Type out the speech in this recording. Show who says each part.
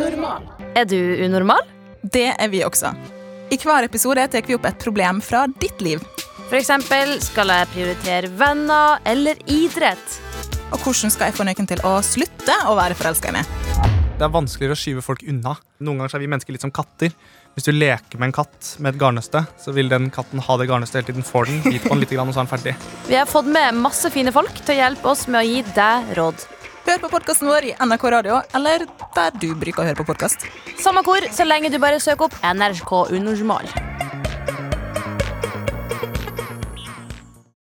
Speaker 1: normal.
Speaker 2: Er du unormal?
Speaker 3: Det er vi også. I hver episode tar vi opp et problem fra ditt liv.
Speaker 2: For eksempel, skal jeg prioritere venner eller idrett?
Speaker 3: Og hvordan skal jeg få noen til å slutte å være forelska i meg?
Speaker 4: Det er vanskeligere å skyve folk unna. Noen ganger så er vi mennesker litt som katter. Hvis du leker med en katt med et garnnøste, så vil den katten ha det garnnøstet hele tiden. Får den, biter på den litt, grann, og så er den ferdig.
Speaker 2: Vi har fått med masse fine folk til å hjelpe oss med å gi deg råd.
Speaker 3: Hør på podkasten vår i NRK Radio, eller der du bruker å høre på podkast.
Speaker 2: Samme hvor, så lenge du bare søker opp NRK Unormal.